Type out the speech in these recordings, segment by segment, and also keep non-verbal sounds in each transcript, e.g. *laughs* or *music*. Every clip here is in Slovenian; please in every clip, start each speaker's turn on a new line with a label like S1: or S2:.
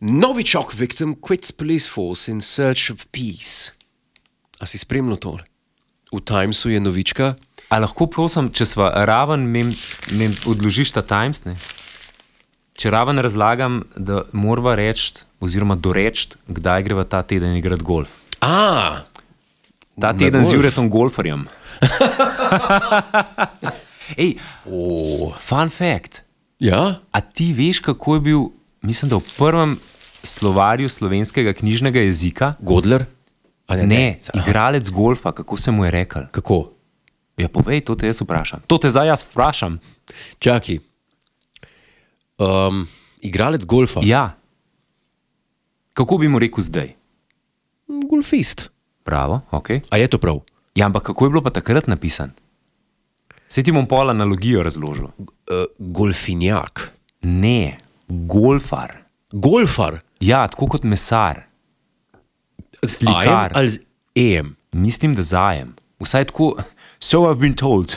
S1: Novichok victim quits police force in search of peace. A si spremljal to? V Timesu je novička,
S2: A lahko, prosim, če smo raven, mem, mem odložiš ta Times? Ne? Če raven razlagam, da moramo reči, oziroma doreči, kdaj greva ta teden igrati golf.
S1: a,
S2: Ta
S1: Na
S2: Na teden golf. z
S1: golf?
S2: Juretom Golferjem. *laughs* Ej, oh. Fun fact.
S1: ja,
S2: A ti veš, kako je bil, mislim, da v prvem slovarju slovenskega knjižnega jezika,
S1: Godler. A
S2: ne, ne
S1: Aha.
S2: igralec golfa, kako se mu je rekel?
S1: Kako?
S2: Ja, povej, to te jaz vprašam. To te zdaj jaz vprašam.
S1: Čakaj. Um, igralec golfa.
S2: Ja. Kako bi mu rekel zdaj?
S1: Mm, Golfist.
S2: Pravo, ok.
S1: A je to prav?
S2: Ja, ampak kako je bilo pa takrat napisan? Se ti bom pol analogijo razložil.
S1: Uh, golfinjak.
S2: Ne, golfar.
S1: Golfar.
S2: Ja, tako kot mesar.
S1: AM
S2: Slikar.
S1: ali z E EM.
S2: Mislim, da zajem. Vsaj tako. So I've been told.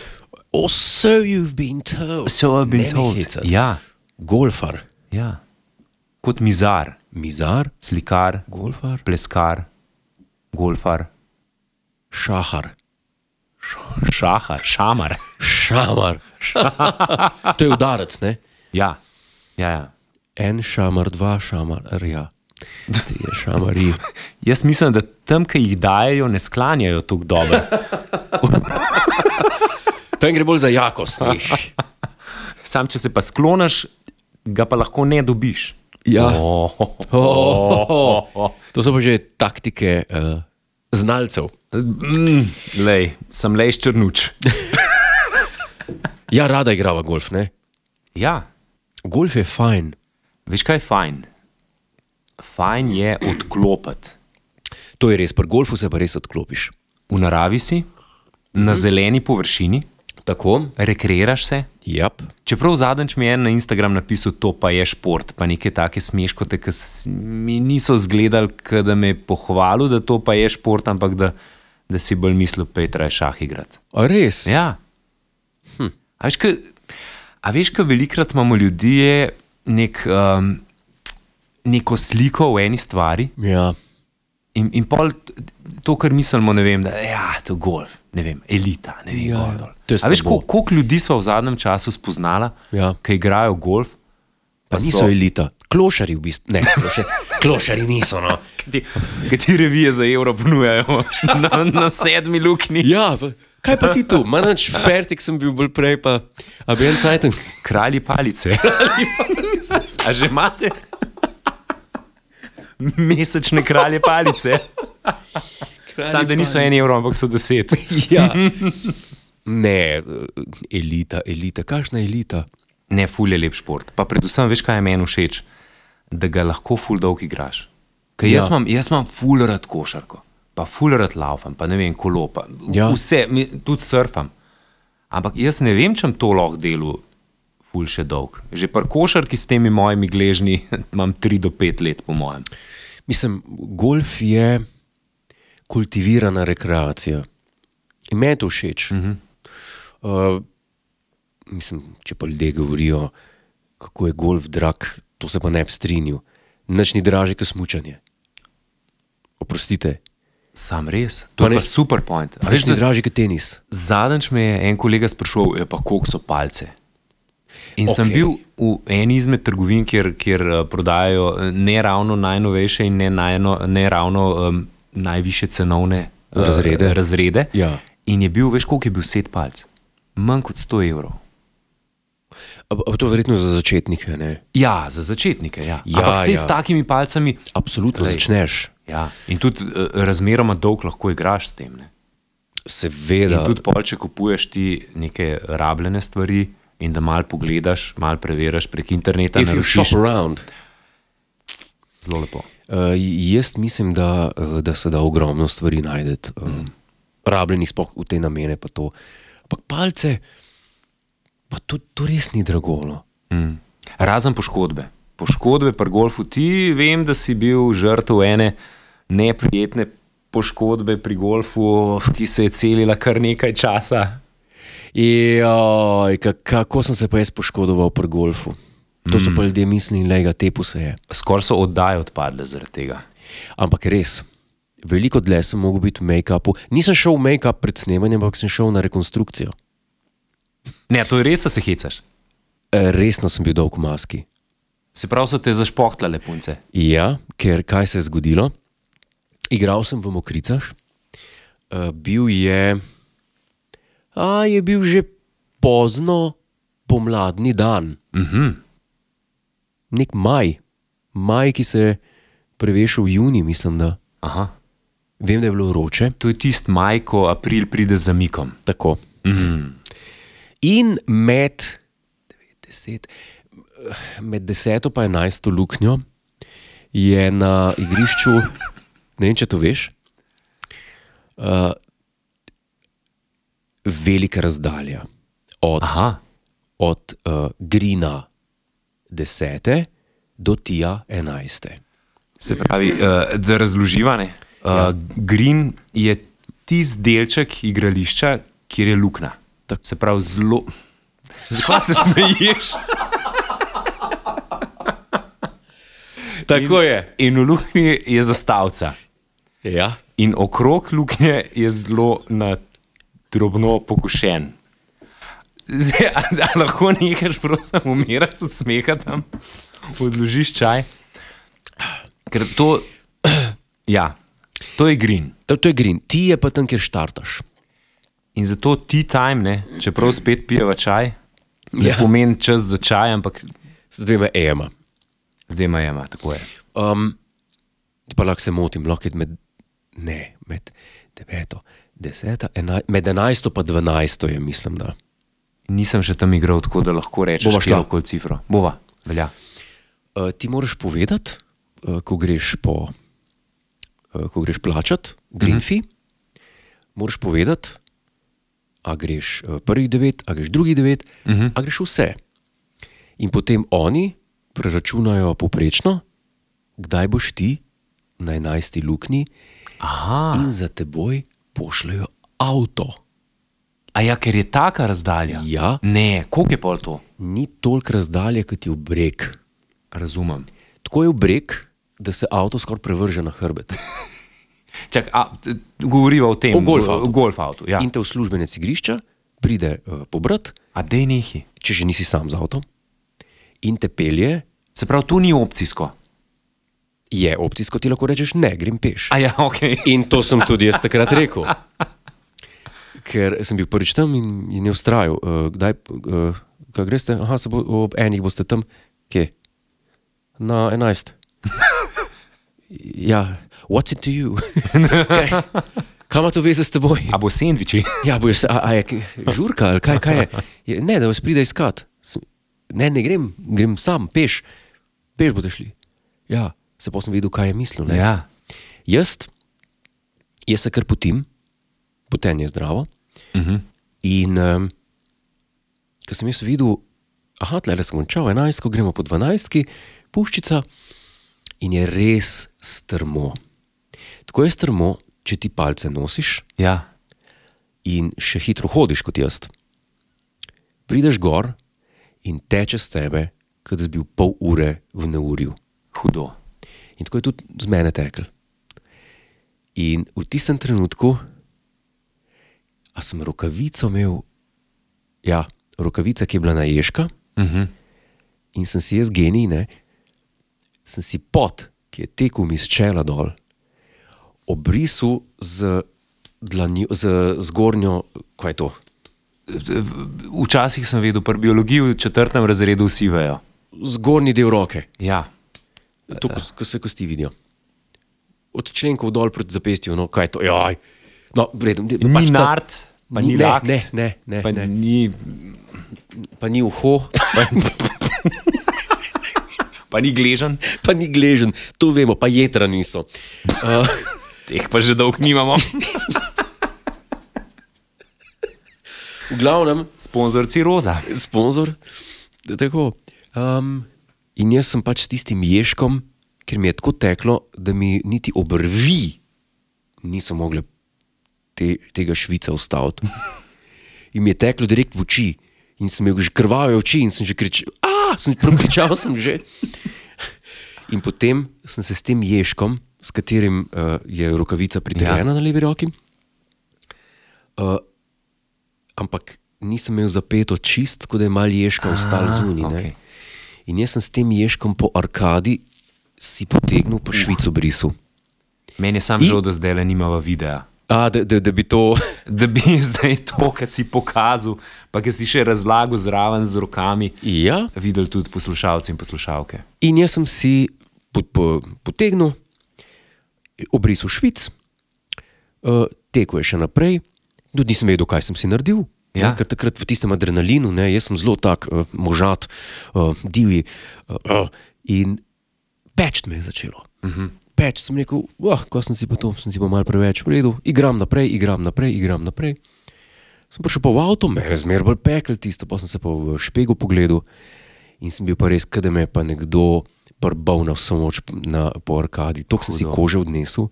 S1: Oh, so you've been told.
S2: So I've
S1: Ne
S2: been
S1: mi
S2: told.
S1: hecat.
S2: Ja,
S1: Golfar.
S2: ja. Kot mizar,
S1: Mizar.
S2: slikar,
S1: Golfar.
S2: pleskar, golfar,
S1: Šahar.
S2: šahar, šamar.
S1: Šamar. to je udarec, ne?
S2: Ja, ja. ja.
S1: En šamar, dva šamarja. Trije šamarji.
S2: Jaz mislim, da tam, ki jih dajo, ne sklanjajo tako dobro.
S1: Tam gre bolj za jakost. njih.
S2: Sam, če se pa skloniš, ga pa lahko ne dobiš.
S1: Ja.
S2: Oh, oh,
S1: Oh,
S2: oh, oh.
S1: To so pa že taktike uh, znalcev.
S2: Mm, lej, sem le izčrnuč.
S1: Ja, rada igrava golf, ne?
S2: Ja,
S1: Golf je fajn.
S2: veš kaj je fajn? Fajn je odklopiti.
S1: To je res, pri golfu se pa res odklopiš.
S2: V naravi si, na zeleni površini,
S1: Tako,
S2: rekreiraš se.
S1: jap.
S2: Čeprav zadnjič mi je en na Instagram napisal, to pa je šport, pa neke take smeškote, ki s- mi niso zgledali, ke da me je pohvalil, da to pa je šport, ampak da, da si bolj mislil, pa je traj šah igrati.
S1: A res?
S2: Ja. Hm. A veš, ka, a veš, ka velikrat imamo ljudi nek, um, neko sliko v eni stvari
S1: ja.
S2: in, in pol t- to, kar mislimo, ne vem, da ja, to je golf, ne vem, elita, ne vem,
S1: Ja,
S2: gor
S1: ja.
S2: dol.
S1: To je
S2: A veš,
S1: slabo.
S2: kol- koliko ljudi smo v zadnjem času spoznala,
S1: Ja.
S2: ki igrajo golf,
S1: Pa niso elita. Klošari v bistvu. Ne, klošari, klošari niso. No.
S2: Ti, ki ti revije za evro ponujajo *laughs* na, na sedmi luknji.
S1: Ja, pa- kaj pa ti tu? Manj fertik sem bil bolj prej, pa abijan cajten.
S2: *laughs* Kralji palice. A že imate? Mesečne kralje palice. Sam, da niso en evro, ampak so deset.
S1: Ja. Ne, elita, elita, kakšna elita.
S2: Ne, ful je lep šport. Pa predvsem veš, kaj je meni všeč, da ga lahko ful dolg igraš. Ker
S1: Ja.
S2: jaz imam, jaz imam ful rad košarko, pa ful rad laufam, pa ne vem, kolo, pa v-
S1: Ja.
S2: vse, mi- tudi surfam. Ampak jaz ne vem, če bom to lahko delu ful še dolg. Že par košarki s temi mojimi gležnji *laughs* imam 3 do 5 let, po mojem.
S1: Mislim, golf je kultivirana rekreacija. In meni je to všeč. Uh
S2: Mhm.
S1: -huh. uh, mislim, če pa ljudje govorijo, kako je golf drag, to se pa ne bi strinjal. Nič ni draže, kot smutanje. Oprostite,
S2: Sam res.
S1: Pa
S2: To je
S1: ne-
S2: pa super point. A
S1: nič
S2: Veš,
S1: ni
S2: da,
S1: draže, kot tenis.
S2: zadnjič me je en kolega sprašal, "Ja, pa koliko so palce. In okay. sem
S1: Okej.
S2: bil v eni izmed trgovin, kjer, kjer eh, prodajajo eh, ne ravno najnovejše in ne, najno, ne ravno um, najviše cenovne eh,
S1: Razrede.
S2: razrede.
S1: Ja.
S2: In je bil, veš, koliko je bil set palc? Manj kot 100 evrov.
S1: Ampak to je verjetno za začetnike. Ne?
S2: Ja, za začetnike. Ja.
S1: Ja,
S2: Ampak saj
S1: ja.
S2: s takimi palcami.
S1: Absolutno
S2: Lej.
S1: Lej. začneš.
S2: Ja. In tudi eh, razmeroma dolg lahko igraš s tem. Ne?
S1: Seveda.
S2: In tudi pol, če kupuješ ti neke rabljene stvari in da malo pogledaš, malo preveriš prek interneta,
S1: If you
S2: naročiš,
S1: shop around,
S2: zelo lepo.
S1: uh, jaz mislim, da, uh, da se da ogromno stvari najdete, um, mm. rabljenih sploh v te namene. Pa to. Ampak palce, pa to, to res ni no. dragolo.
S2: Mm. Razen poškodbe. Poškodbe pri golfu, ti vem, da si bil žrtev ene neprijetne poškodbe pri golfu, ki se je celila kar nekaj časa.
S1: Joj, ka- kako sem se pa jaz poškodoval pri golfu? To
S2: Mm.
S1: so pa ljudje mislili, da je tepu se je.
S2: Skoraj so oddaje odpadle zaradi tega.
S1: Ampak res, veliko dlje sem mogel biti v make-upu. Nisem šel v make-up pred snemanjem, ampak sem šel na rekonstrukcijo.
S2: Ne, to je res, da se hecaš.
S1: E, Resno sem bil dolg v maski.
S2: Se pravi, so te zašpohtale punce.
S1: Ja, ker kaj se je zgodilo? Igral sem v Mokricah, Eh, bil je. A je bil že pozno pomladni dan,
S2: Uh -huh.
S1: nek maj, maj, ki se je prevešil v juni, mislim. Da.
S2: Aha.
S1: Vem, da je bilo vroče,
S2: To je tisti maj, ko april pride z zamikom.
S1: tako. Mhm.
S2: Mm.
S1: In med 90, med 10 in 11 luknjo je na igrišču, ne vem, če to veš, uh, velika razdalja od,
S2: Aha,
S1: od uh, Grina 10 do Tija 11.
S2: se pravi, uh, da razloživa. Uh, ja. Green je tisti delček igrališča, kjer je luknja.
S1: Tako.
S2: Se pravi, zelo. Zakaj se smeješ?
S1: *laughs* Tako je.
S2: In v luknji je zastavca.
S1: Ja.
S2: In okrog luknje je zelo na drobno pokošen. Zdaj, a, a lahko nekaj, prosim, umirati od smeha tam, odložiš čaj. Ker to, *clears throat* ja, to je green.
S1: To, to je Green, ti je pa tam, kjer štartaš.
S2: In zato ti time, ne, čeprav spet pijeva čaj, ne
S1: Ja.
S2: ja. pomeni čas za čaj, ampak
S1: Z dvema EM-a.
S2: zdaj ima jema, tako je.
S1: Um, pa lahko se motim, lahko je med, ne, med 9, 10, 11, med 11 in 12 je, mislim. Da.
S2: Nisem še tam igral, tako da lahko rečem,
S1: Bova šla.
S2: lahko cifro. Bova, velja.
S1: Uh, ti moraš povedati, uh, ko greš po, uh, ko greš plačat, Greenfi, mm -hmm. moraš povedati, a greš uh, prvih 9, a greš drugih 9, mm -hmm. a greš vse. In potem oni preračunajo poprečno, kdaj boš ti na 11. luknji.
S2: Aha.
S1: in za teboj pošljajo avto.
S2: A ja, ker je taka razdalja.
S1: Ja.
S2: Ne, koliko je pol to?
S1: Ni toliko razdalje, kot je v breg.
S2: Razumem.
S1: Tako je v breg, da se avto skoraj prevrže na
S2: *laughs*
S1: hrbet.
S2: Čak, a, t- govoriva o tem,
S1: O golf avtu.
S2: o golf avtu ja.
S1: Ja. In te uslužbenec igrišča pride uh, pobrat,
S2: A dej nehi.
S1: če že nisi sam z avtom, in te pelje,
S2: Se pravi, to ni opcijsko.
S1: je opcijsko ti lahko rečeš, ne grem peš.
S2: A ja, ok.
S1: In to sem tudi jaz takrat rekel. Ker sem bil prvič tam in, in je ustrajal, uh, kdaj uh, greš, aha, se bo, ob enih boste tam, kje? Na enajst. Ja, what's it to you? *laughs* Kaj, kaj ima to veze s teboj?
S2: A bo sendviči?
S1: Ja, bojo se, a, a je k- žurka ali kaj, kaj je? je? Ne, da vas pride iskat. Sem- Ne, ne grem, grem sam, peš, peš boste šli. Ja, se pa sem videl, kaj je mislil. Ne?
S2: Ja.
S1: Jaz, jaz se kar potim, potenje je zdravo.
S2: Uh
S1: Mhm.
S2: -huh.
S1: In um, ko sem jaz videl, aha, tle sem končal, 11, ko gremo po 12, puščica in je res strmo. Tako je strmo, če ti palce nosiš
S2: ja.
S1: in še hitro hodiš kot jaz. Prideš gor in teče s tebe, kot da si bil pol ure v neurju.
S2: Hudo.
S1: In tako je tudi z mene tekel. In v tistem trenutku, a sem rokavico imel, ja, rokavica, ki je bila naješka,
S2: Uh -huh.
S1: in sem si jaz genij, ne, sem si pot, ki je tekel mi z čela dol, obrisal z, dlanjo, z zgornjo, kaj je to,
S2: Včasih sem vedel, pri biologiji v četrtem razredu vsi vejo.
S1: zgornji del roke,
S2: Ja.
S1: to, ko, ko se kosti vidijo. Od členkov dol proti zapestju, no, kaj je to, joj. No, vredno,
S2: Ni pač nard, pa ni
S1: ne,
S2: lak,
S1: ne, ne, ne,
S2: pa
S1: ne.
S2: ni,
S1: pa ni uho, *laughs* pa,
S2: pa ni gležen.
S1: pa ni gležen, to vemo, pa jedra niso. Uh,
S2: Teh pa že dolgo *laughs* nimamo.
S1: v glavnem,
S2: Sponzorci roza.
S1: sponzor. Tako, um, in jaz sem pač s tistim ježkom, ker mi je tako teklo, da mi niti obrvi niso mogle te, tega švica ustaviti. In mi je teklo direkt v oči, in sem imel že krvave oči, in sem že kričal, "A!" ja, sem pripričal sem že. In potem sem se s tem ježkom, s katerim uh, je rokavica pritrjena ja. na levi roki, uh, ampak nisem imel zapeto čist, tako da je mal ježka ostal zunaj. Okay.
S2: okej.
S1: In jaz sem s tem ježkom po arkadi si potegnil po švicu brisu.
S2: Meni je sam žal, da zdaj le nimava videa.
S1: A, da, da, da bi to.
S2: Da bi *laughs* zdaj to, kar si pokazal, pa kar si še razlagal zraven z rokami,
S1: Ja.
S2: videli tudi poslušalci in poslušalke.
S1: In jaz sem si po, po, potegnil, obrisal švic, uh, tekel je še naprej, tudi nisem vedel, kaj sem si naredil.
S2: Ja.
S1: Ne, ker takrat v tistem adrenalinu, ne, jaz sem zelo tak, uh, možat, uh, divji. Uh, uh, in peč me je začelo. Uh -huh. Peč sem rekel, oh, ko sem si pa to, sem si pa malo preveč v redu, igram naprej, igram naprej, igram naprej. Sem prišel pa v avto, me je zmeraj bolj pekel, tisto pa sem se pa v špegu pogledal in sem bil pa res, kaj da me je pa nekdo prbal na vso moč na, po arkadi. To sem si
S2: Hudo.
S1: kože odnesel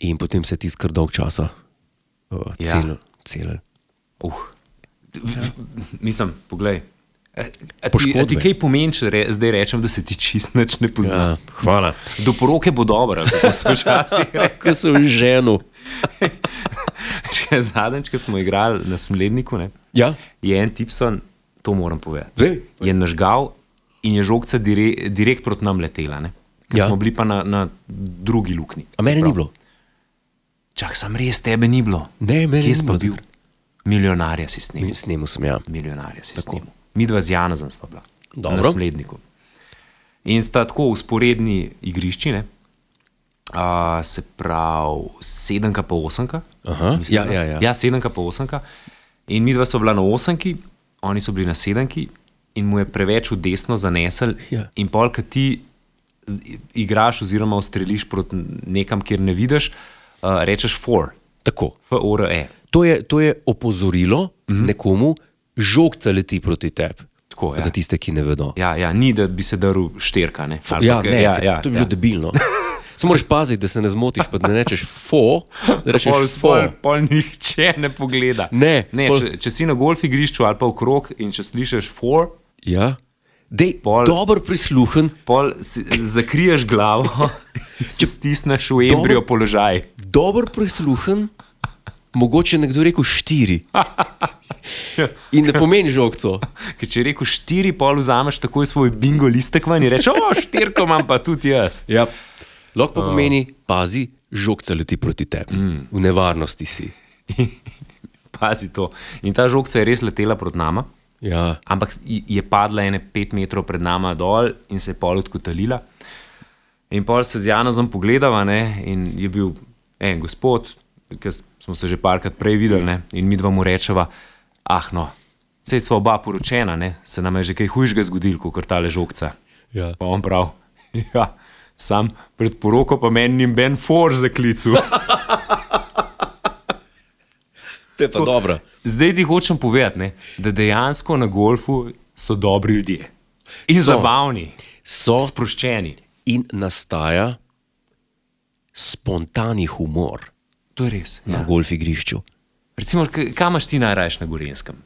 S1: in potem se je tisti kar dolg časa uh,
S2: Ja.
S1: celil. celil.
S2: Uh. Mislim, poglej. A, a ti, a
S1: Poškodbe.
S2: ti kaj pomeni, če re, zdaj rečem, da se ti čist nič ne pozna? Ja.
S1: hvala.
S2: Do poroke bo dobro, ali kako so včasih rekli.
S1: Kaj Ja, sem ženu?
S2: Še zadnjič, ko smo igrali na Smledniku, ne,
S1: Ja,
S2: je en Tipson, to moram povedati.
S1: Zdaj?
S2: Je nažgal in je žogca dire, direkt proti nam letela. Ne? Ker
S1: Ja.
S2: ja. smo bili pa na, na drugi luknji.
S1: a mene ni bilo.
S2: Čak, sam res tebe ni bilo.
S1: Ne, mene
S2: Kje
S1: ni
S2: si
S1: bilo
S2: pa bil? Milijonarja si snimil.
S1: Snemu sem ja.
S2: milijonarja si snimil. Mi dva z Janazem smo bila
S1: Dobro.
S2: na Smledniku. In sta tako usporedni igrišči, ne? Uh, se pravi, sedemka pa osemka.
S1: Aha,
S2: Mislim,
S1: ja,
S2: da.
S1: ja, ja.
S2: ja, sedemka pa osemka. In mi dva so bila na osemki, oni so bili na sedemki, in mu je preveč v desno zanesel.
S1: Ja.
S2: In pol, ki ti z- igraš, oziroma ustreliš proti nekam, kjer ne vidiš, uh, rečeš for,
S1: Tako.
S2: f-o-r-e.
S1: To je, to je opozorilo mhm. nekomu, žogca leti proti tebi.
S2: Tako, ja.
S1: Za tiste, ki ne vedo.
S2: Ja, ja, ni, da bi se daril šterka. Ne? Ali
S1: Ja,
S2: pa,
S1: ne, ja, ja, to je bilo ja.
S2: ja.
S1: *laughs* debilno. Samo moraš paziti, da se ne zmotiš, pa da ne rečeš fo, da rečeš
S2: Pol,
S1: fo.
S2: pol, pol nihče ne pogleda.
S1: Ne,
S2: ne
S1: pol-
S2: če, če si na golf igrišču ali pa v krog in če slišiš for,
S1: Ja. Dej,
S2: Pol-
S1: dobro prisluhen,
S2: pol si, zakriješ glavo, *laughs* če stisneš v
S1: Dobro.
S2: embrijo položaj.
S1: dobro prisluhen, mogoče je nekdo rekel *laughs* štiri. In ne pomeni žogco.
S2: Ker če je rekel štiri, pol vzameš takoj svoj bingo listek ven in rečeš, o, štirko imam pa tudi jaz.
S1: Ja. Lahko pa pomeni, pazi, žogca leti proti tebi. Mm. V nevarnosti si.
S2: Pazi to. In ta žog se je res letela proti nama.
S1: Ja.
S2: ampak s- i- je padla ene pet metrov pred nama dol in se je pol odkotalila. In pol se z Janom pogledava ne, in je bil en gospod, ki smo se že parkrat prej videli ne, in mi dva mu rečeva, ah no, sej sva oba poročena, ne, se nam je že kaj hujšega zgodil, kot ta ležokca.
S1: Ja.
S2: Pa on prav, *laughs* ja, sam pred poroko pa meni ni Ben Forge zaklical.
S1: To je pa dobro.
S2: Zdaj ti hočem povedati, ne, da dejansko na golfu so dobri ljudje. In so.
S1: So.
S2: zabavni,
S1: So
S2: sproščeni.
S1: in nastaja spontani humor
S2: To je res.
S1: ja. na golf igrišču.
S2: Recimo, k- kam imaš ti najraje na Gorenskem?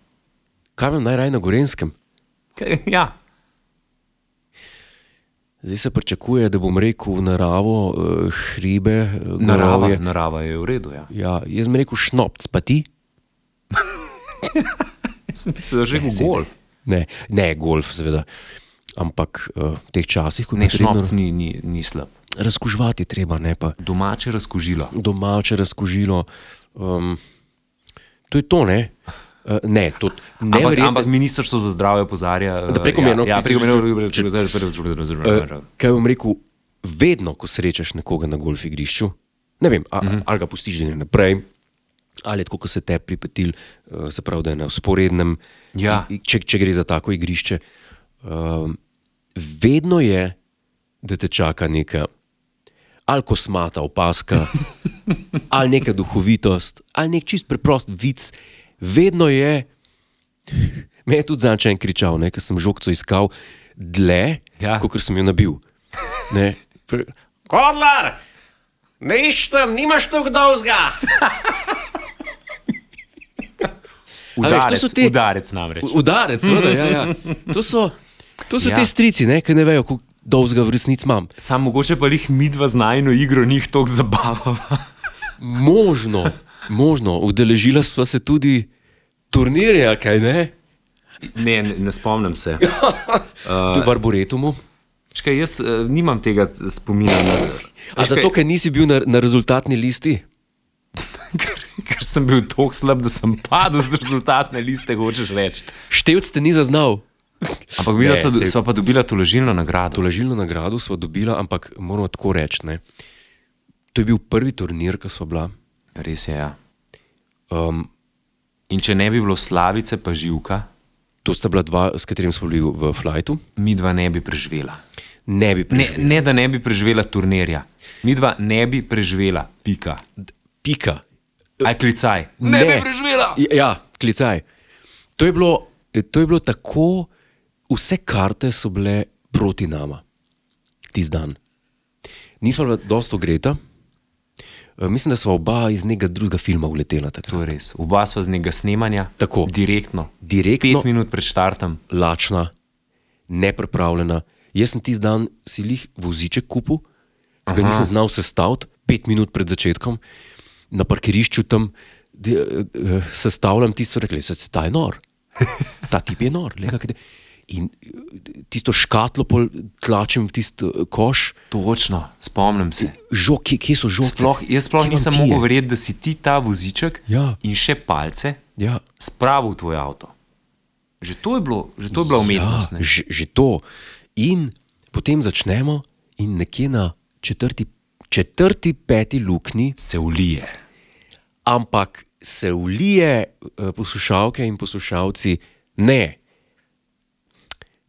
S1: Kaj imam najraje na Gorenskem?
S2: K- Ja,
S1: Zdaj se pričakuje, da bom rekel naravo, eh, hribe, eh,
S2: narava,
S1: gorovje.
S2: narava je v redu. Ja.
S1: Ja, jaz bi rekel šnopc, pa ti?
S2: *laughs* Jaz mislim, da že v golf.
S1: Ne, ne golf, seveda. Ampak eh, v teh časih, ko
S2: Ne,
S1: je potrebno
S2: šnopc ni, ni, ni slab.
S1: razkužvati, je treba ne pa
S2: Domače razkožilo.
S1: domače razkužilo. Um, to je to, ne? Eh, Ne, to ne
S2: ampak,
S1: verjetno-
S2: ampak ministrstvo za zdravje opozarja, eh,
S1: Da prekomerno-
S2: Ja, ja, prekomerno. Če,
S1: Eh, Kaj bom rekel, vedno, ko srečaš nekoga na golf igrišču, ne vem, a, mm -hmm. ali ga pustiš, da gre naprej, ali je tako, ko se te pripetil, eh, se pravi, da je na usporednem.
S2: Ja.
S1: I- Če, če gre za tako igrišče, um, vedno je, da te čaka neka ali kosmata opaska, ali neka duhovitost, ali nek čist preprost vic. Vedno je, *laughs* me je tudi zanče en kričal, ne, ker sem žogco iskal dlje,
S2: Ja.
S1: ja. kot sem jo nabil. Ne, pre... Kodlar, ne iščem, nimaš tu kdovzga.
S2: udarec,
S1: to so te-
S2: udarec namreč.
S1: Udarec, seveda, ja, ja. To so, To so ja.
S2: Ja.
S1: te strici, ne, ki ne vejo, kako dolgo v resnici imam.
S2: Sam mogoče pa jih midva znajno igro njih toliko zabavava. *laughs*
S1: Možno, možno, udeležila sva se tudi turnirja, kaj ne?
S2: Ne, ne, ne spomnim se.
S1: Uh, v Arboretumu.
S2: Škaj, jaz uh, nimam tega eh, spomina. Na,
S1: A
S2: Veš kaj,
S1: zato, ker nisi bil na, na rezultatni listi?
S2: ker, *laughs* ker sem bil tako slab, da sem padel z rezultatne liste, hočeš reči.
S1: Števc te ni zaznal.
S2: Ampak mi
S1: Ne,
S2: smo
S1: saj-
S2: se... pa dobila tolažilno nagrado.
S1: Tolažilno nagrado sva dobila, ampak moramo tako reči. ne. To je bil prvi turnir, ki sva bila.
S2: Res je. Ja.
S1: Um,
S2: In če ne bi bilo slavice, pa živka,
S1: to sta bila dva, s katerim smo bili v flightu.
S2: mi dva ne bi preživela.
S1: Ne bi
S2: Ne,
S1: prišli.
S2: ne, da ne bi preživela turnirja. Mi dva ne bi preživela, pika.
S1: Pika.
S2: Aj klicaj.
S1: Ne.
S2: preživela.
S1: Ja, Ja, klicaj. To je bilo, to je bilo tako, vse karte so bile proti nama, tisti dan. Nismo bila dosto greta. Eh, Mislim, da smo oba iz nekega drugega filma uletela. Tako.
S2: To je res. Oba sva z njega snemanja.
S1: Tako.
S2: Direktno.
S1: Direktno.
S2: Pet minut pred štartom.
S1: lačna, neprepravljena. Jaz sem tisti dan si jih voziček kupil, ki ga nisem znal sestaviti, pet minut pred začetkom, na parkirišču tam de, de, sestavljam, ti so rekli, da ta je
S2: *laughs*
S1: nor, ta tip je nor. Lega, In eh, tisto škatlo pol tlačim v tisti eh, koš,
S2: Točno, spomnim se.
S1: žog, kje, kje so žogice.
S2: Sploh, jaz sploh
S1: Kje imam
S2: nisem
S1: ti je?
S2: mogel verjeti, da si ti ta voziček
S1: Ja.
S2: in še palce
S1: Ja.
S2: spravil v tvoj avto. Že to je, bilo, že to je bila umetnost.
S1: Ja,
S2: ne.
S1: že, že to. In potem začnemo, in nekje na četrti, četrti peti luknji
S2: Se ulije.
S1: ampak se ulije eh, poslušalke in poslušalci, ne,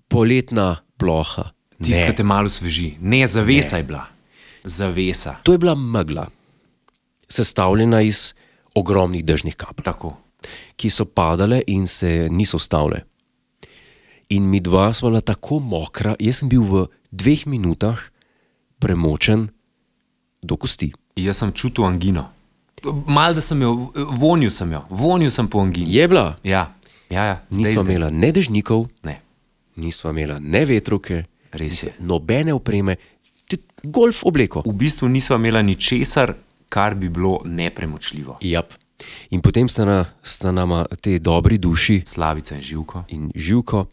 S1: poletna ploha.
S2: Tisto,
S1: Ne.
S2: ki te malo sveži. Ne, zavesa ne. je bila. Zavesa.
S1: To je bila megla, sestavljena iz ogromnih dežnih kaplj,
S2: Tako.
S1: ki so padale in se niso ustavile. In mi dva smo bila tako mokra, jaz sem bil v dveh minutah premočen do kosti.
S2: Jaz sem čutil angino. Mal da sem jo, vonil sem jo, vonil sem po angini.
S1: Je bila,
S2: Ja, ja, ja. zdaj,
S1: nismo
S2: zdaj.
S1: imela ne dežnikov,
S2: Ne,
S1: nismo imela ne vetrovke,
S2: res je.
S1: nobene opreme, tudi golf obleko.
S2: V bistvu nismo imela ničesar, kar bi bilo nepremočljivo.
S1: Yep. In potem sta, na, sta nama te dobri duši
S2: Slavica in živko.
S1: in živko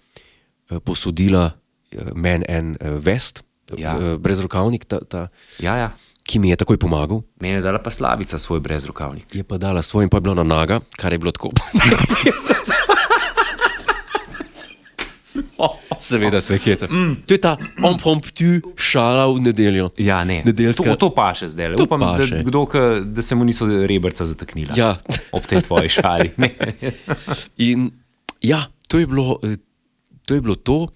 S1: eh, posodila eh, meni en eh, vest,
S2: Ja.
S1: ja. brezrokavnik, ta, ta,
S2: Ja, ja.
S1: ki mi je takoj pomagal.
S2: Mene je dala pa slavica svoj brezrokavnik.
S1: Je pa dala svojim, pa je bila na naga, kar je bilo tako. *laughs* Seveda se hecam. Mm. To je ta impromptu šala v nedeljo.
S2: Ja, ne.
S1: Nedeljska-
S2: To, to pa še zdaj.
S1: To
S2: Upam,
S1: pa
S2: da,
S1: še.
S2: kdo, ka, da se mu niso rebrca zataknila.
S1: Ja.
S2: Ob tej tvoji šali. Ne.
S1: In ja, to je bilo eh, to. Je bilo to.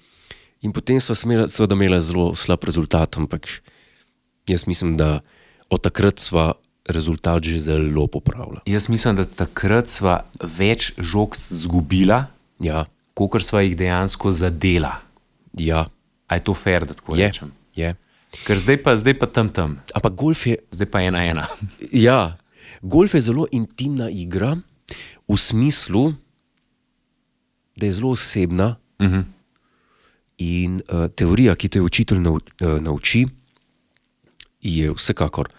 S1: In potem smo seveda imeli zelo slab rezultat, ampak jaz mislim, da od takrat smo rezultat že zelo popravili.
S2: Jaz mislim, da takrat sva več žog zgubila,
S1: Ja,
S2: kot sva jih dejansko zadela.
S1: ja
S2: A je to fair, da tako
S1: je,
S2: rečem?
S1: je.
S2: Ker zdaj pa, zdaj pa tam tam,
S1: Ampak golf je,
S2: zdaj pa ena ena.
S1: ja, golf je zelo intimna igra v smislu, da je zelo osebna.
S2: Uh -huh.
S1: In uh, teorija, ki te jo učitelj nau, uh, nauči, je vsekakor,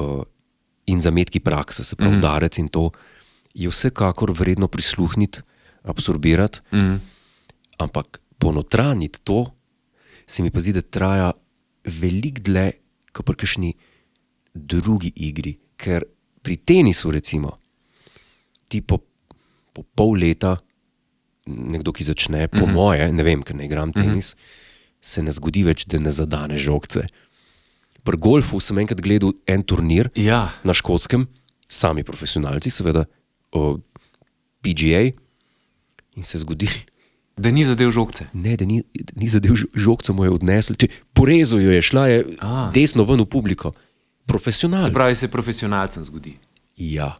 S1: uh, in zametki prakse, se pravi, mm. darec in to, je vsekakor vredno prisluhniti, absorbirati,
S2: Mm.
S1: ampak ponotraniti to, se mi pa zdi, da traja veliko dlje kot pri kakšni drugi igri. Ker pri tenisu, recimo, ti po, po pol leta, nekdo, ki začne, po mm -hmm. moje, ne vem, ker ne igram tenis, mm -hmm. se ne zgodi več, da ne zadane žogce. Pri golfu sem enkrat gledal en turnir
S2: Ja,
S1: na škotskem, sami profesionalci, seveda, o, PGA, in se je zgodilo,
S2: da ni zadev žogce.
S1: ne, da ni, ni zadev žo- žogico, mu je odnesel, če porezal jo je, šla je A.
S2: A.
S1: desno ven v publiko. Profesionalci.
S2: Se pravi, se profesionalcem zgodi.
S1: ja.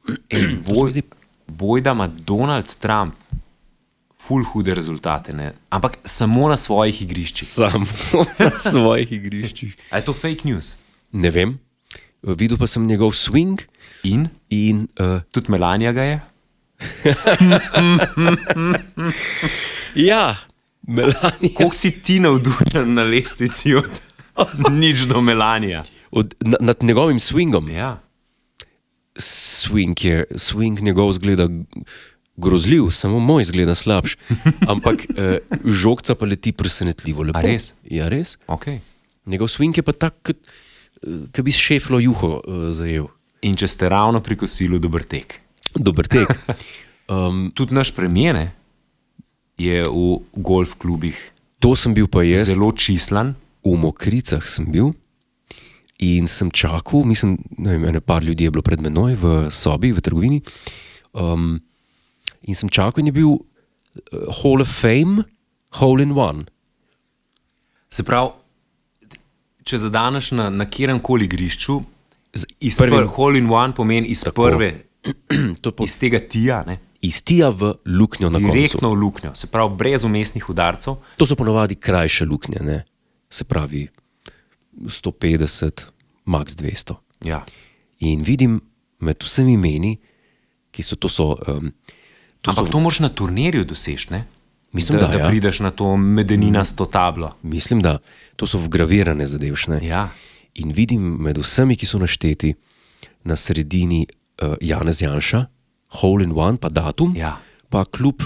S1: *clears throat*
S2: Boj, boj da ima Donald Trump ful hude rezultate, ne? ampak samo na svojih igriščih.
S1: Samo
S2: *laughs*
S1: na svojih igriščih.
S2: A je to fake news?
S1: Ne vem. Videl pa sem njegov swing
S2: In
S1: in uh,
S2: tudi Ja. Melania ga je.
S1: ja, Melanija.
S2: Kako si ti navdušen na lestvici od *laughs* nič do Melanija?
S1: Od, na, nad njegovim swingom.
S2: Ja.
S1: Swing, je, swing njegov zgleda grozljiv, samo moj zgleda slabš. Ampak eh, žogca pa leti presenetljivo. Lepo.
S2: A res?
S1: Ja, res.
S2: Okay.
S1: Njegov swing je pa tak, kot, eh, kot bi s šeflo juho eh, zajel.
S2: In če ste ravno pri kosilu, dober tek.
S1: Dober
S2: *laughs*
S1: tek. Um,
S2: Tudi naš premijer je v golf klubih
S1: to sem bil pa jaz.
S2: Jest. zelo čislan.
S1: v Mokricah sem bil in sem čakal, mislim, ne vem, ene par ljudi je bilo pred menoj v sobi, v trgovini. Um, in sem čakal, in je bil uh, Hall of Fame, Hole in One. *clears throat*
S2: Se pravi, če zadaneš na, na kjerem koli igrišču, iz
S1: prvim-
S2: prvega hole in one pomeni iz Tako. prve,
S1: To pa
S2: iz tega tija, ne,
S1: iz tija v luknjo na koncu.
S2: direktno v luknjo, se pravi, brez umestnih udarcev.
S1: To so ponovadi krajše luknje, ne? se pravi 150, max 200.
S2: Ja.
S1: In vidim med vsemi imeni, ki so to. So, um, to
S2: Ampak
S1: so,
S2: to moš na turnirju doseči, ne?
S1: Mislim, da,
S2: da
S1: ja. Mm.
S2: prideš na to medeninasto tablo.
S1: mislim, da to so vgravirane zadevšne.
S2: Ja.
S1: In vidim med vsemi, ki so našteti, na sredini uh, Janez Janša, Hole in One, pa datum,
S2: Ja.
S1: pa kljub,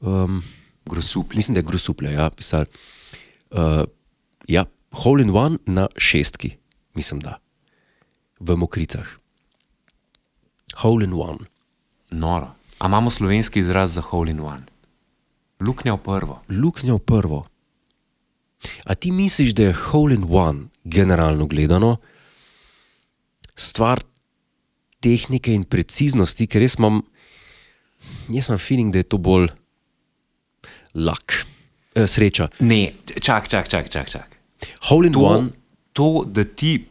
S1: um,
S2: Grosuplji.
S1: mislim, da je Grosuplja, ja, pisal. Uh, ja, Hole in One na šestki, mislim, da v Mokricah. Hole in One,
S2: Noro. A imamo slovenski izraz za hole in one. Luknja v prvo.
S1: luknjo prvo. A ti misliš, da je Hole in One, generalno gledano, stvar tehnike in preciznosti, ker jaz imam, jaz imam feeling, da je to bolj lak, eh, sreča.
S2: Ne, čak, čak, čak, čak. čak.
S1: Hole in
S2: To,
S1: One,
S2: to, da ti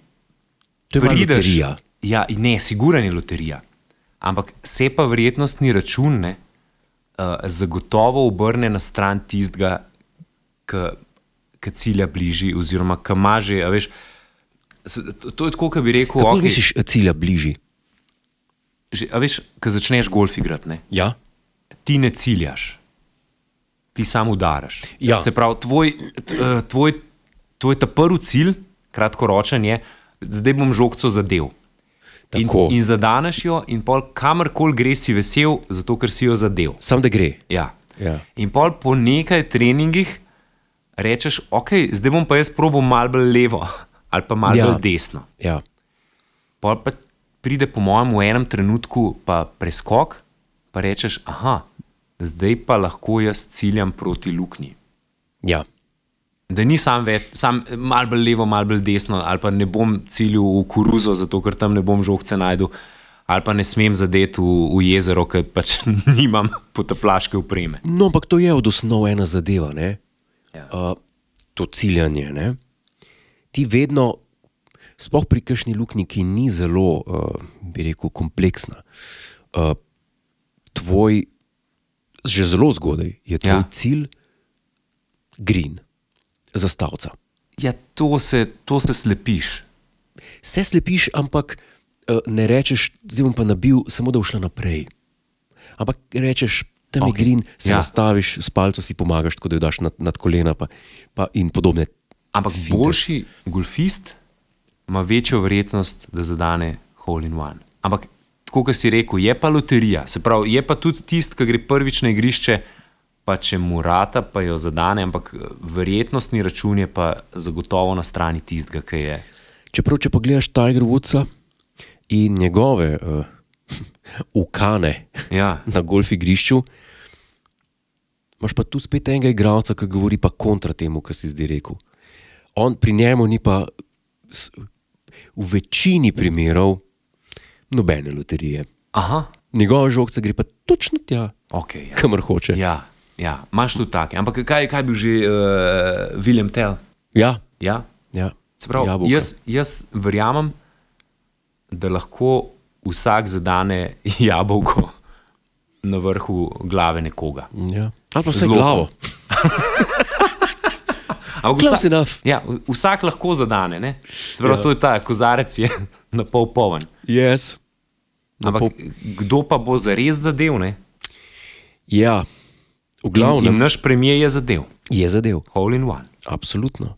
S1: to je malo
S2: prideš-
S1: loterija.
S2: Ja, in ne, siguren je loterija. Ampak se pa vrednostni račun ne, uh, zagotovo obrne na stran tistega, ki cilja bližje, oziroma ki ima že. a Veš, s- to- to je tako, kot bi rekel,
S1: Kako okay.
S2: okay,
S1: misliš, eh, cilja bližji?
S2: že, a veš, ko začneš golf igrati, ne,
S1: Ja.
S2: ti ne ciljaš, ti samo udaraš.
S1: Ja.
S2: Se pravi, tvoj, t- eh, tvoj, tvoj ta prvi cilj, kratkoročen, je, zdaj bom žogco zadev. In,
S1: Tako.
S2: in zadaneš jo, in pol kamorkoli greš, si vesel, zato ker si jo zadev.
S1: Sam da gre.
S2: Ja.
S1: Ja.
S2: In pol po nekaj treningih rečeš, ok, zdaj bom pa jaz probo malo bolj levo *laughs* ali pa malo
S1: Ja.
S2: ja. bolj desno.
S1: Ja.
S2: Pol pa pride, po mojem, v enem trenutku pa preskok, pa rečeš, aha, zdaj pa lahko jaz ciljam proti luknji.
S1: Ja.
S2: Da ni sam več, sam malo bolj levo, malo bolj desno, ali pa ne bom ciljal v koruzo, zato ker tam ne bom žogce najdel, ali pa ne smem zadeti v, v jezero, ker pač *laughs* nimam potaplaške upreme.
S1: No, ampak to je od osnov ena zadeva, ne?
S2: Ja.
S1: Uh, to ciljanje. Ne? Ti vedno, sploh pri kakšni luknji, ki ni zelo, uh, bi rekel, kompleksna, uh, tvoj, že zelo zgodaj je tvoj ja.
S2: Ja.
S1: cilj green, zastavca.
S2: Ja, to se, to se slepiš.
S1: Se slepiš, ampak uh, ne rečeš, zdaj bom pa nabil, samo da boš šla naprej. Ampak rečeš, tam okay. je
S2: Ok,
S1: green, se ja.
S2: ja.
S1: nastaviš, s palcem si pomagaš, tako da jo daš nad, nad kolena, pa, pa in podobne.
S2: Ampak
S1: finte.
S2: boljši golfist ima večjo verjetnost, da zadane hole in one. Ampak, tako kot si rekel, je pa loterija. Se pravi, je pa tudi tisti, ki gre prvič na igrišče, pa če mu rata, pa jo zadane, ampak eh, verjetnostni račun je pa zagotovo na strani tistega, ki je.
S1: Čeprav, če pa gledaš Tiger Woodsa in njegove uh, *laughs* ukane
S2: Ja,
S1: na golf igrišču, imaš pa tu spet enega igralca, ki govori pa kontra temu, kar si zdaj rekel. On pri njemu ni pa s- v večini primerov nobene loterije.
S2: aha,
S1: Njegova žogca gre pa točno tja,
S2: ok. Ja.
S1: kamor hoče. Ja,
S2: Ja, ja, imaš tudi take. Ampak kaj, kaj bi že uh, William Tell?
S1: ja.
S2: Ja?
S1: ja.
S2: Se pravi,
S1: Jabolka.
S2: jaz, jaz verjamem, da lahko vsak zadane *laughs* jabolko na vrhu glave nekoga.
S1: Ja. Ali pa vse
S2: Zelo.
S1: glavo.
S2: Ampak
S1: Close enough.
S2: ja, v- vsak lahko zadane. Ne? Se pravi,
S1: Ja.
S2: ja. to je ta kozarec, je na pol poln.
S1: Yes.
S2: Ampak
S1: pol-
S2: kdo pa bo zares zadev? Ne?
S1: Ja, V
S2: In, in
S1: glavnem
S2: naš premijer je zadev,
S1: je zadev.
S2: hole in one.
S1: Absolutno.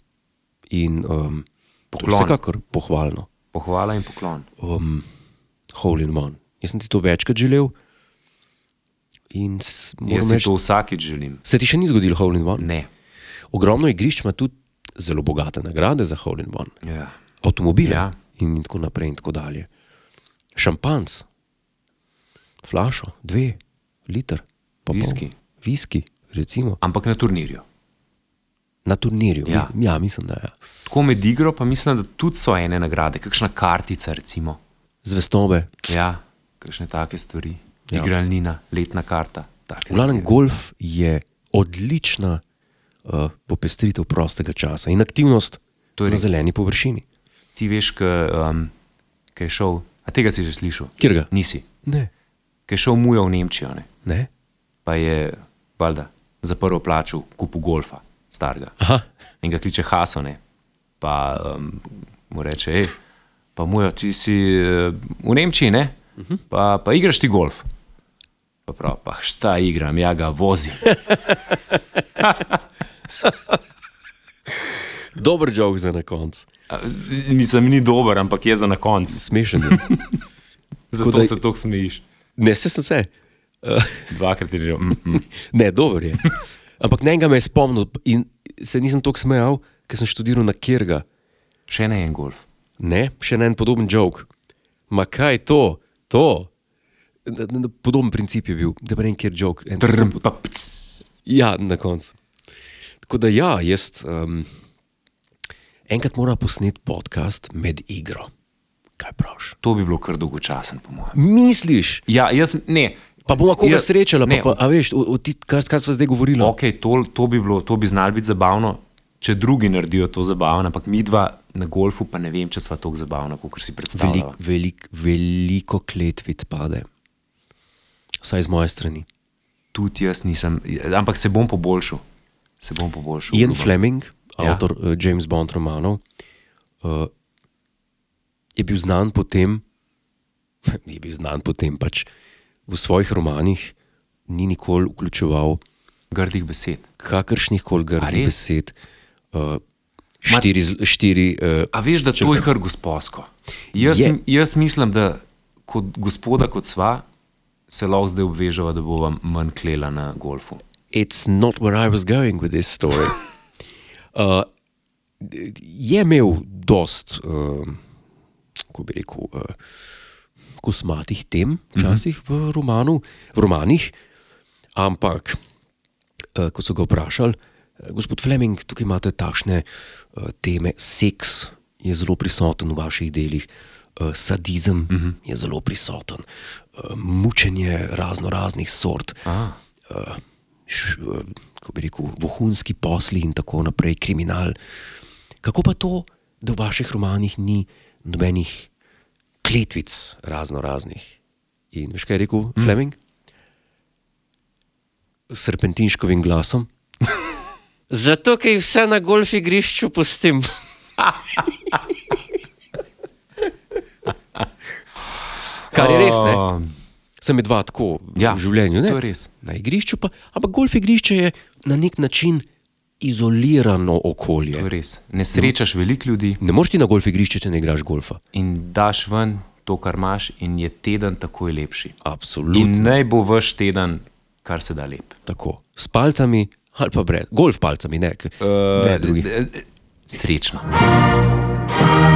S1: In um, to je
S2: Poklon.
S1: vsekakor pohvalno.
S2: Pohvala in poklon.
S1: um, hole in one. Jaz sem ti to večkrat želel. In s-
S2: Jaz
S1: moram
S2: si
S1: reči,
S2: to vsakič želim.
S1: se ti še ni zgodil hole in one?
S2: Ne.
S1: Ogromno igrišč ima tudi zelo bogate nagrade za hole in one.
S2: Ja.
S1: Avtomobile
S2: Ja.
S1: in, in tako naprej in tako dalje. Šampanc, flašo, dve, liter, pa pol.
S2: Viski.
S1: Viski, recimo,
S2: Ampak na turnirju.
S1: na turnirju.
S2: Ja.
S1: Mi- ja, mislim, da je. Ja.
S2: Tako med igro, pa mislim, da tudi so ene nagrade, kakšna kartica, recimo.
S1: Zvestobe.
S2: Ja, kakšne take stvari.
S1: Ja.
S2: Ja. Igralnina, letna karta. take
S1: V glavnem,
S2: zadeve.
S1: golf je odlična uh, popestritev prostega časa in aktivnost
S2: To je
S1: na
S2: res.
S1: zeleni površini.
S2: Ti veš, kaj um, ke je šel, a tega si že slišal?
S1: Kjer ga?
S2: Nisi.
S1: Ne,
S2: Kaj je šel muja v Nemčijo, ne?
S1: ne.
S2: pa je, valjda, za prvo plačal kupu golfa, starega.
S1: Aha,
S2: in ga kliče Hasone. Pa um, mu reče, hej, pa mu je, ti si eh, v Nemčiji, ne?
S1: Mhm.
S2: Pa, pa igraš ti golf. Pa prav, pa šta igram, ja ga vozi.
S1: *laughs* dober jog za na konec.
S2: A, Mislim, ni dober, ampak je za na konec.
S1: Smešen *laughs* je. Tako
S2: Zato
S1: da-
S2: da... se tako smejiš.
S1: Ne, se sem se. Uh,
S2: Dvakrat je rekel, mm, mm.
S1: *laughs* ne, dober je. Ampak ne ga me je spomnil in se nisem tako smejal, ker sem študiral na Kirga.
S2: še ne en golf.
S1: Ne, še en podoben jog. Ma kaj to, to. Na- na- na Podoben princip je bil, da ne vem, kjer jog. En-
S2: Trm, pa, pc.
S1: Ja, na koncu. Tako da, ja, jaz um, enkrat moram posneti podcast med igro. Kaj praviš?
S2: to bi bilo kar dolgočasen, po mojem.
S1: Misliš,
S2: Ja, jaz ne.
S1: pa bomo koga
S2: Jaz-
S1: srečali, pa,
S2: Ja,
S1: No.
S2: ne,
S1: pa, a veš, o, o ti, kar, kar smo zdaj govorili.
S2: Ok, to, to bi bilo, to bi znalo biti zabavno, če drugi naredijo to zabavno, ampak mi dva na golfu pa ne vem, če smo tako zabavni, kot si
S1: Velik,
S2: predstavljamo.
S1: velik, veliko kletvic pade. Vsaj z moje strani.
S2: Tudi jaz nisem, ampak se bom poboljšal. Se bom poboljšal.
S1: Ian
S2: obljubim.
S1: Fleming,
S2: Ja.
S1: avtor uh, James Bond romanov, uh, je bil znan po tem, *laughs* je bil znan po tem, pač v svojih romanih ni nikoli vključeval
S2: Grdih besed.
S1: kakršnih koli grdih
S2: res?
S1: besed. Uh, štiri, zl- štiri uh,
S2: A veš, da to je kar gospodsko. Jaz,
S1: Je.
S2: m- jaz mislim, da kot gospoda, kot sva, se lahko zdaj obvežava, da bo vam manj klela na golfu.
S1: it's not where I was going with this story. uh, je imel dost, uh, kako bi rekel, uh, kosmatih tem, včasih v, romanu, v romanih, ampak uh, ko so ga vprašali, eh, gospod Fleming, tukaj imate takšne uh, teme, seks je zelo prisoten v vaših delih. eh, Sadizem uh -huh. je zelo prisoten, eh, mučenje razno raznih sort, eh, š- eh, kako bi rekel, vohunski posli in tako naprej, kriminal. Kako pa to, da v vaših romanih ni nobenih kletvic, razno raznih? In veš, kaj je rekel mm. Fleming? S serpentinškovim glasom. *laughs* Zato, ker jih vse na golf igrišču pustim. *laughs* Kar je res, ne?
S2: Um,
S1: Sem dva tako ja,
S2: Ja,
S1: v življenju. Ne?
S2: to je res.
S1: Na igrišču pa, ampak golf igrišče je na nek način izolirano okolje.
S2: To je res. Ne srečaš veliko ljudi
S1: Ne moreš ti na golf igrišče, če ne igraš golfa.
S2: in daš ven to, kar imaš, in je teden takoj lepši.
S1: Absolutno.
S2: In naj bo vaš teden, kar se da lep.
S1: Tako. S palcami ali
S2: Eh,
S1: pa brez. Golf palcami, ne. Uh, ne drugi.
S2: Srečno.
S3: Thank